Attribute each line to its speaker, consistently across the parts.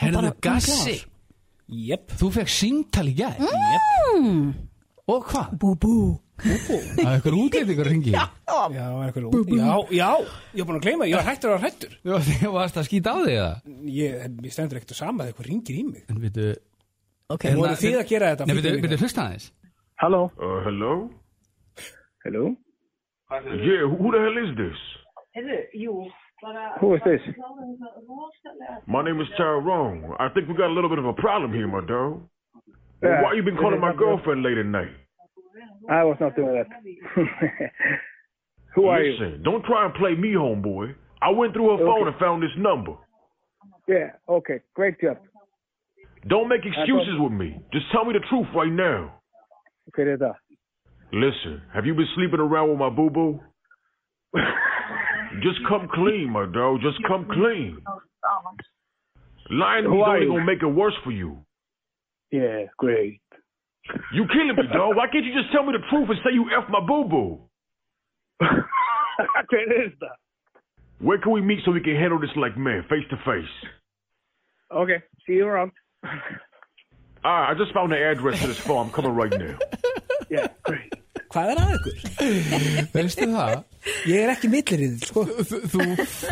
Speaker 1: Herðu
Speaker 2: bara- bara
Speaker 1: gassi
Speaker 2: klár.
Speaker 3: Jep, Mm.
Speaker 1: Þú fekk símtal í gær
Speaker 3: jep
Speaker 1: Og hvað?
Speaker 2: Bú bú
Speaker 1: Það er ykkur útlendingur ringi
Speaker 3: Já, einhver út Já, já, ég er búin að gleyma, ég var hættur að vera hættur
Speaker 1: Þú varst að skýta á þig það
Speaker 3: Ég, ég stendur ekkert að sama þegar eitthvað ringir í mig
Speaker 1: En veitu
Speaker 2: Ok,
Speaker 3: Voru þið að gera þetta
Speaker 1: Nei,
Speaker 3: fyrir
Speaker 1: veitu,
Speaker 3: mig?
Speaker 1: veitu, hlusta aðeins
Speaker 4: Hello.
Speaker 5: Uh, hello?
Speaker 4: Hello.
Speaker 5: Yeah, who, who the hell is this?
Speaker 4: Who is this?
Speaker 5: My name is Tyrone. I think we got a little bit of a problem here, my dog.
Speaker 4: Yeah.
Speaker 5: Why you been calling my girlfriend late at night?
Speaker 4: I was not doing that. Who are you?
Speaker 5: Listen, don't try and play me, homeboy. I went through her phone and found this number.
Speaker 4: Yeah. Okay. Great job.
Speaker 5: Don't make excuses with me. Just tell me the truth right now.
Speaker 4: Okay, that's all.
Speaker 5: Listen, have you been sleeping around with my boo boo? Just come clean, my dog. Just come clean. Lying to
Speaker 4: Who
Speaker 5: me's
Speaker 4: are
Speaker 5: only
Speaker 4: you?
Speaker 5: gonna make it worse for you.
Speaker 4: Yeah. Great.
Speaker 5: You killing me, dog. Why can't you just tell me the truth and say you f my boo boo?
Speaker 4: okay, that's all.
Speaker 5: Where can we meet so we can handle this like men, face to face?
Speaker 4: Okay. See you around.
Speaker 5: All right, I just found the address to this farm. I'm coming right now.
Speaker 4: Yeah. Great.
Speaker 3: Hvað er að ykkur?
Speaker 1: Veistu það?
Speaker 3: Ég er ekki milliriðil, sko
Speaker 1: Þú, þú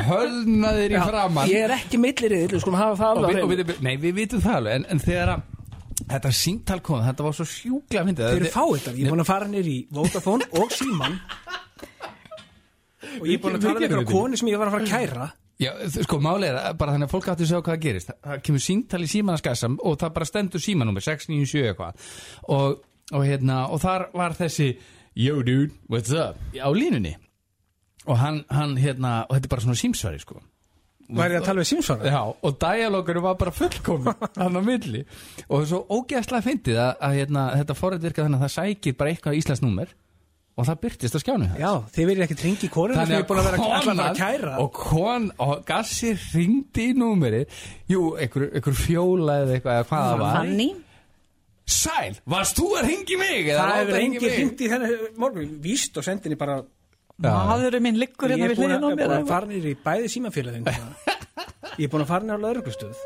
Speaker 1: hölnaðir í framann
Speaker 3: Ég er ekki milliriðil, sko, hafa það
Speaker 1: og
Speaker 3: alveg
Speaker 1: við,
Speaker 3: á
Speaker 1: og
Speaker 3: hreinu.
Speaker 1: við, nei, við vitum það alveg en, en þegar að þetta síntal kom þetta var svo sjúklega myndið
Speaker 3: Þeir eru fáið Ég er búin að fara nýr í Vodafone og Síman Og ég er búin að tala um einhverja koni sem ég var að fara að kæra
Speaker 1: Já, þú- sko, málið er að bara þannig að fólk átti að sjá hvað það gerist það, það kemur síntal í símanaskassam og það bara stendur símanúmer 697 eitthvað og, og hérna, og þar var þessi Yo dude, what's up á línunni og hann, hann hérna, og þetta er bara svona símsvari sko
Speaker 3: Var ég að tala við símsvara?
Speaker 1: Já, og dialogur var bara fullkomin hann á milli og svo ógeðslega fyndið að, að hérna, þetta forrið virka þannig að það sækir bara eitthvað íslensk númer og það byrtist að skjánu það
Speaker 3: Já, þið verið ekkert ringi í koninu sem ég er búin að vera að, að, að kæra
Speaker 1: og kon og gassi ringdi í númeri jú, einhver, einhver fjóla eða eitthvað eða hvað það var
Speaker 2: Fanny
Speaker 1: Sæl, varst þú að ringi mig? Eða
Speaker 3: Það
Speaker 1: láta
Speaker 3: hefur
Speaker 1: hringja í
Speaker 3: engi
Speaker 1: mig?
Speaker 3: ringt í þennan morgun Víst og sendinni bara
Speaker 2: Maður minn liggur
Speaker 3: Ég
Speaker 2: hérna
Speaker 3: er
Speaker 2: við
Speaker 3: búin
Speaker 2: hliðin á
Speaker 3: að,
Speaker 2: mér
Speaker 3: búin að
Speaker 2: eða
Speaker 3: fara nýr í bæði símanfélagin Ég er búin að fara nýr á lauruglustöð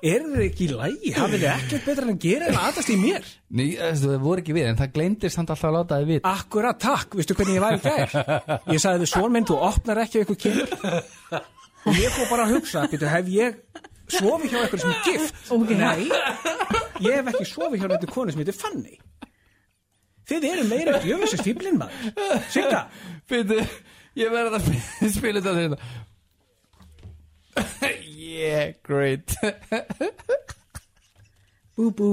Speaker 3: Er þið ekki í lægi? Hafið þið ekkert betra en að gera en að aðast í mér?
Speaker 1: Nei, þessu, eh, það voru ekki við, en það gleymdist hann alltaf að láta þið við
Speaker 3: Akkurat takk, veistu hvernig ég var í gær Ég sagði við svon minn, þú opnar ekki eitthvað kemur Og ég fór bara að hugsa Býtu, hef ég sofið hjá eitthvað sem er gift
Speaker 2: Ok.
Speaker 3: Nei, ég hef ekki sofið hjá eitthvað konu sem heitir Fanny Þið eru meira djöfisins fíblin maður Sigga,
Speaker 1: Fyrir, ég verði að sp- spila þetta þeirna Yeah, great
Speaker 2: Bú bú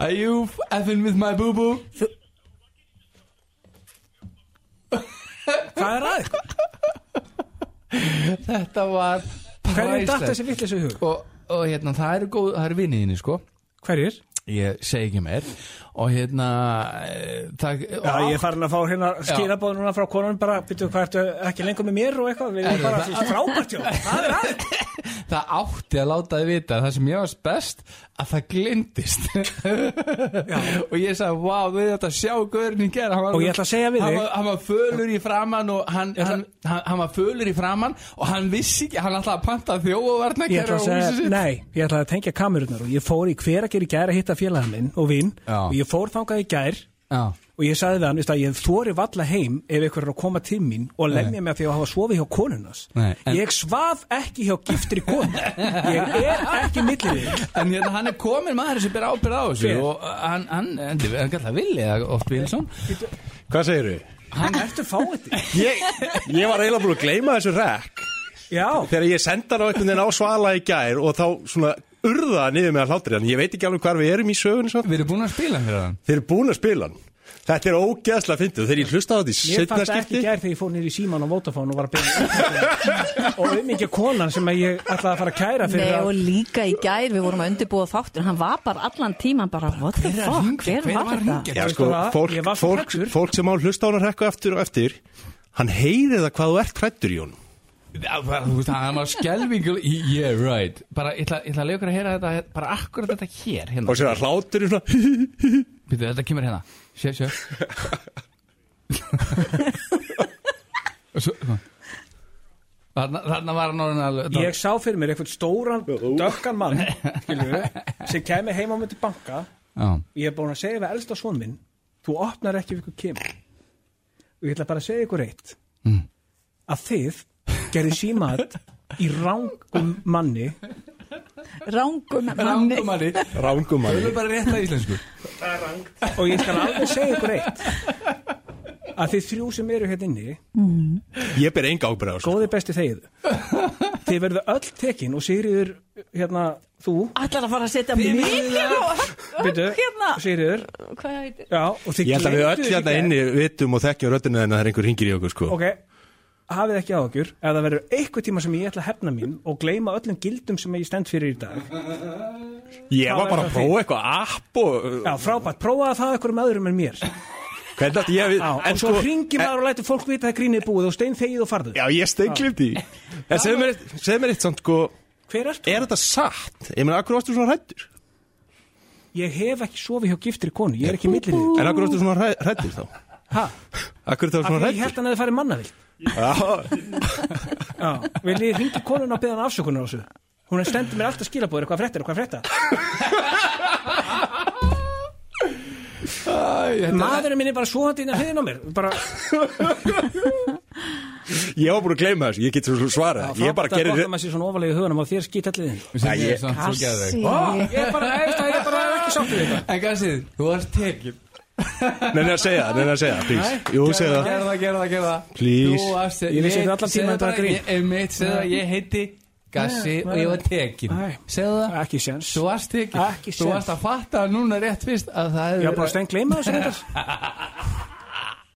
Speaker 1: Are you effing with my boo-boo?
Speaker 3: hvað er aðeins?
Speaker 1: Þetta var
Speaker 3: Hvernig datt
Speaker 1: præslegt.
Speaker 3: þessi vitlis í hug?
Speaker 1: og, og hérna, það eru góð, það eru vinniðinni sko
Speaker 3: Hverjir?
Speaker 1: ég segi ekki meir og hérna eh, það,
Speaker 3: Já,
Speaker 1: og
Speaker 3: ég er farin að fá hérna skýrabóð núna frá konunum bara, býtu, hvað ertu ekki lengur með mér og eitthvað, við erum bara þú veist, frábært hjá, það er aðeins
Speaker 1: það átti að láta þið vita það sem ég varst best að það glindist og ég sagði, vá, þú veit þetta sjá gaurin í gera
Speaker 3: Og ég ætla að segja við
Speaker 1: hann
Speaker 3: þig-
Speaker 1: var, hann var fölur í framann og hann, hann, hann, hann var fölur í framann og hann vissi ekki, hann ætlaði að panta þjóðvarna
Speaker 3: ég ætla að segja, nei, ég ætla að tengja kamerunar og ég fór í hver að gera í gær að hitta félagin minn og vinn
Speaker 1: Já.
Speaker 3: og ég fór þangað í gær
Speaker 1: Já,
Speaker 3: og ég sagði við hann, veist að ég þóri valla heim ef ykkur er að koma til mín og lemja mig af því að hafa sofið hjá konunas
Speaker 1: Nei, en-
Speaker 3: ég svaf ekki hjá giftri konu ég er ekki millir þig
Speaker 1: En hérna, hann er komin maður sem ber ábyrð á þessu
Speaker 3: Hver?
Speaker 1: og hann, hann, hann, hann kallar Willi eða oft Wilson
Speaker 6: Hvað segir þau?
Speaker 3: hann ertu fáið þig
Speaker 6: Ég, ég var eiginlega búin að gleyma þessu rekk
Speaker 3: já,
Speaker 6: þegar ég senda hann á einhvern veginn á svala í gær og þá svona urða hann yfir með að hlátri hann. Ég veit ekki alveg hvar við erum í sögunni svo.
Speaker 1: Við erum búin að spila hann fyrir hann
Speaker 6: Þeir eru búin að spila hann. Þetta er ógeðslega fyndið. Þegar ég hlusta á þetta í
Speaker 3: ég
Speaker 6: setna
Speaker 3: fannst ekki í
Speaker 6: skipti.
Speaker 3: gær þegar ég fór nýri í síman og vótafón og var að byrja og um ekki konan sem að ég ætlaði að fara að kæra fyrir
Speaker 2: Nei
Speaker 3: að
Speaker 2: og líka í gær við vorum að undirbúa þáttur Hann var bara allan tíman bara What the fuck, hver var þetta?
Speaker 6: Já,
Speaker 3: Veistu
Speaker 6: sko,
Speaker 3: hvað? Ég
Speaker 6: fólk,
Speaker 3: var svo
Speaker 6: fólk,
Speaker 3: hræddur.
Speaker 6: fólk sem á að hlusta á hann rekku eftir og eftir, hann heyrir það hvað þú ert hrættur í honum.
Speaker 1: Já, bara, þú veist, hann var skelvingul Yeah, right Bara, ég ætla ég ætla að leiða ykkur að heyra þetta hérna, Bara akkurat þetta hér hérna.
Speaker 6: Og sér að hlátur í svona,
Speaker 1: Býttu, þetta kemur hérna Sjö, sjö Og svo, svona. Þarna, þarna var hann orðin alveg
Speaker 3: Ég sá fyrir mér eitthvað stóran, dökkan mann skilur, sem kemur heima á myndi banka
Speaker 1: Já,
Speaker 3: ég er búin að segja við elsta son minn þú opnar ekki við ykkur kim og ég ætla bara að segja ykkur eitt að þið gerði símat í rángum manni
Speaker 2: Rángum manni
Speaker 1: rángum manni
Speaker 6: Rángum
Speaker 1: Það er bara rétt að íslensku
Speaker 3: og ég skal alveg segja ykkur eitt að þið þrjú sem eru hérna inni
Speaker 6: Ég ber enga ábyrða
Speaker 3: góði besti þegið þið verðu öll tekin og Sigriður hérna þú
Speaker 2: Ætlar að fara að setja mig
Speaker 3: byrju,
Speaker 2: Hérna
Speaker 3: Sigriður
Speaker 2: Hvað heitir?
Speaker 3: já, og þið
Speaker 6: Ég held að við
Speaker 3: gleymduð
Speaker 6: öll
Speaker 3: því
Speaker 6: hérna
Speaker 3: gær.
Speaker 6: inni vitum og þekkjum röddina en að það er einhver hringir í okkur sko
Speaker 3: ok, hafið ekki á okkur ef það verður eitthvað tíma sem ég ætla að hefna mín og gleyma öllum gildum sem ég stend fyrir í dag
Speaker 6: Ég
Speaker 3: það
Speaker 6: var bara
Speaker 3: er
Speaker 6: að
Speaker 3: það
Speaker 6: prófa eitthvað app og
Speaker 3: já, frábært, prófaði það einhverjum öðrum en mér já,
Speaker 6: hvernig átti ég að við sko-
Speaker 3: og svo hringi maður og lætur fólk vita að grínið er búið og stein þegið og farðu
Speaker 6: Já, ég steinglimt í En segðu mér, eitt- segðu mér eitt samt sko
Speaker 3: hver er
Speaker 6: Er þetta satt? Ég meina, akkur varstu svona hrættur?
Speaker 3: ég hef ekki sofið hjá giftri konu, ég er ekki millir þig
Speaker 6: En akkur varstu svona hrættur þá?
Speaker 3: ha,
Speaker 6: Akkur þetta var
Speaker 3: af
Speaker 6: svona
Speaker 3: því ég
Speaker 6: hrættur?
Speaker 3: held hann að það farið mannavill
Speaker 6: Já,
Speaker 3: Já, vil ég hringi konuna og beða hann afsökunar á þessu Hún er stendur mér alltaf skilabóður eitthvað fréttir, eitthvað frétta Maðurinn minn er bara svoandi innan hliðin á mér bara,
Speaker 6: Ég var búin að gleyma þessu, ég get svo svara Ég
Speaker 3: Það er
Speaker 6: bara
Speaker 3: gott
Speaker 6: gerir
Speaker 3: að maður sé svona ofalega í hugunum og þér skýt allir þinn
Speaker 1: Sem
Speaker 6: Já,
Speaker 1: ég er
Speaker 6: ég-
Speaker 1: samt svo geðveik.
Speaker 2: Kassi
Speaker 3: Ég er bara, ég veist það, ég er bara ekki sáttur við þetta
Speaker 1: En Gassið, þú varst tekið
Speaker 6: Neina að segja, neina að segja, please Jú, segja það
Speaker 1: Gerða, gerða, gerða
Speaker 6: Please.
Speaker 1: Þú varst
Speaker 3: Ég vissi þetta allan
Speaker 1: segðu
Speaker 3: tímann, þetta var
Speaker 1: bara,
Speaker 3: grín.
Speaker 1: Ég, einmitt, segðu að ég heiti Gassi
Speaker 3: Nei,
Speaker 1: og ég var tekin
Speaker 3: Nei.
Speaker 1: Segðu það
Speaker 3: Ekki séns
Speaker 1: Þú varst tekin
Speaker 3: Ekki
Speaker 1: Þú
Speaker 3: séns.
Speaker 1: varst að fatta núna rétt fyrst að það hefði
Speaker 3: Ég er bara
Speaker 1: verið-
Speaker 3: stengt gleyma þessu reyndar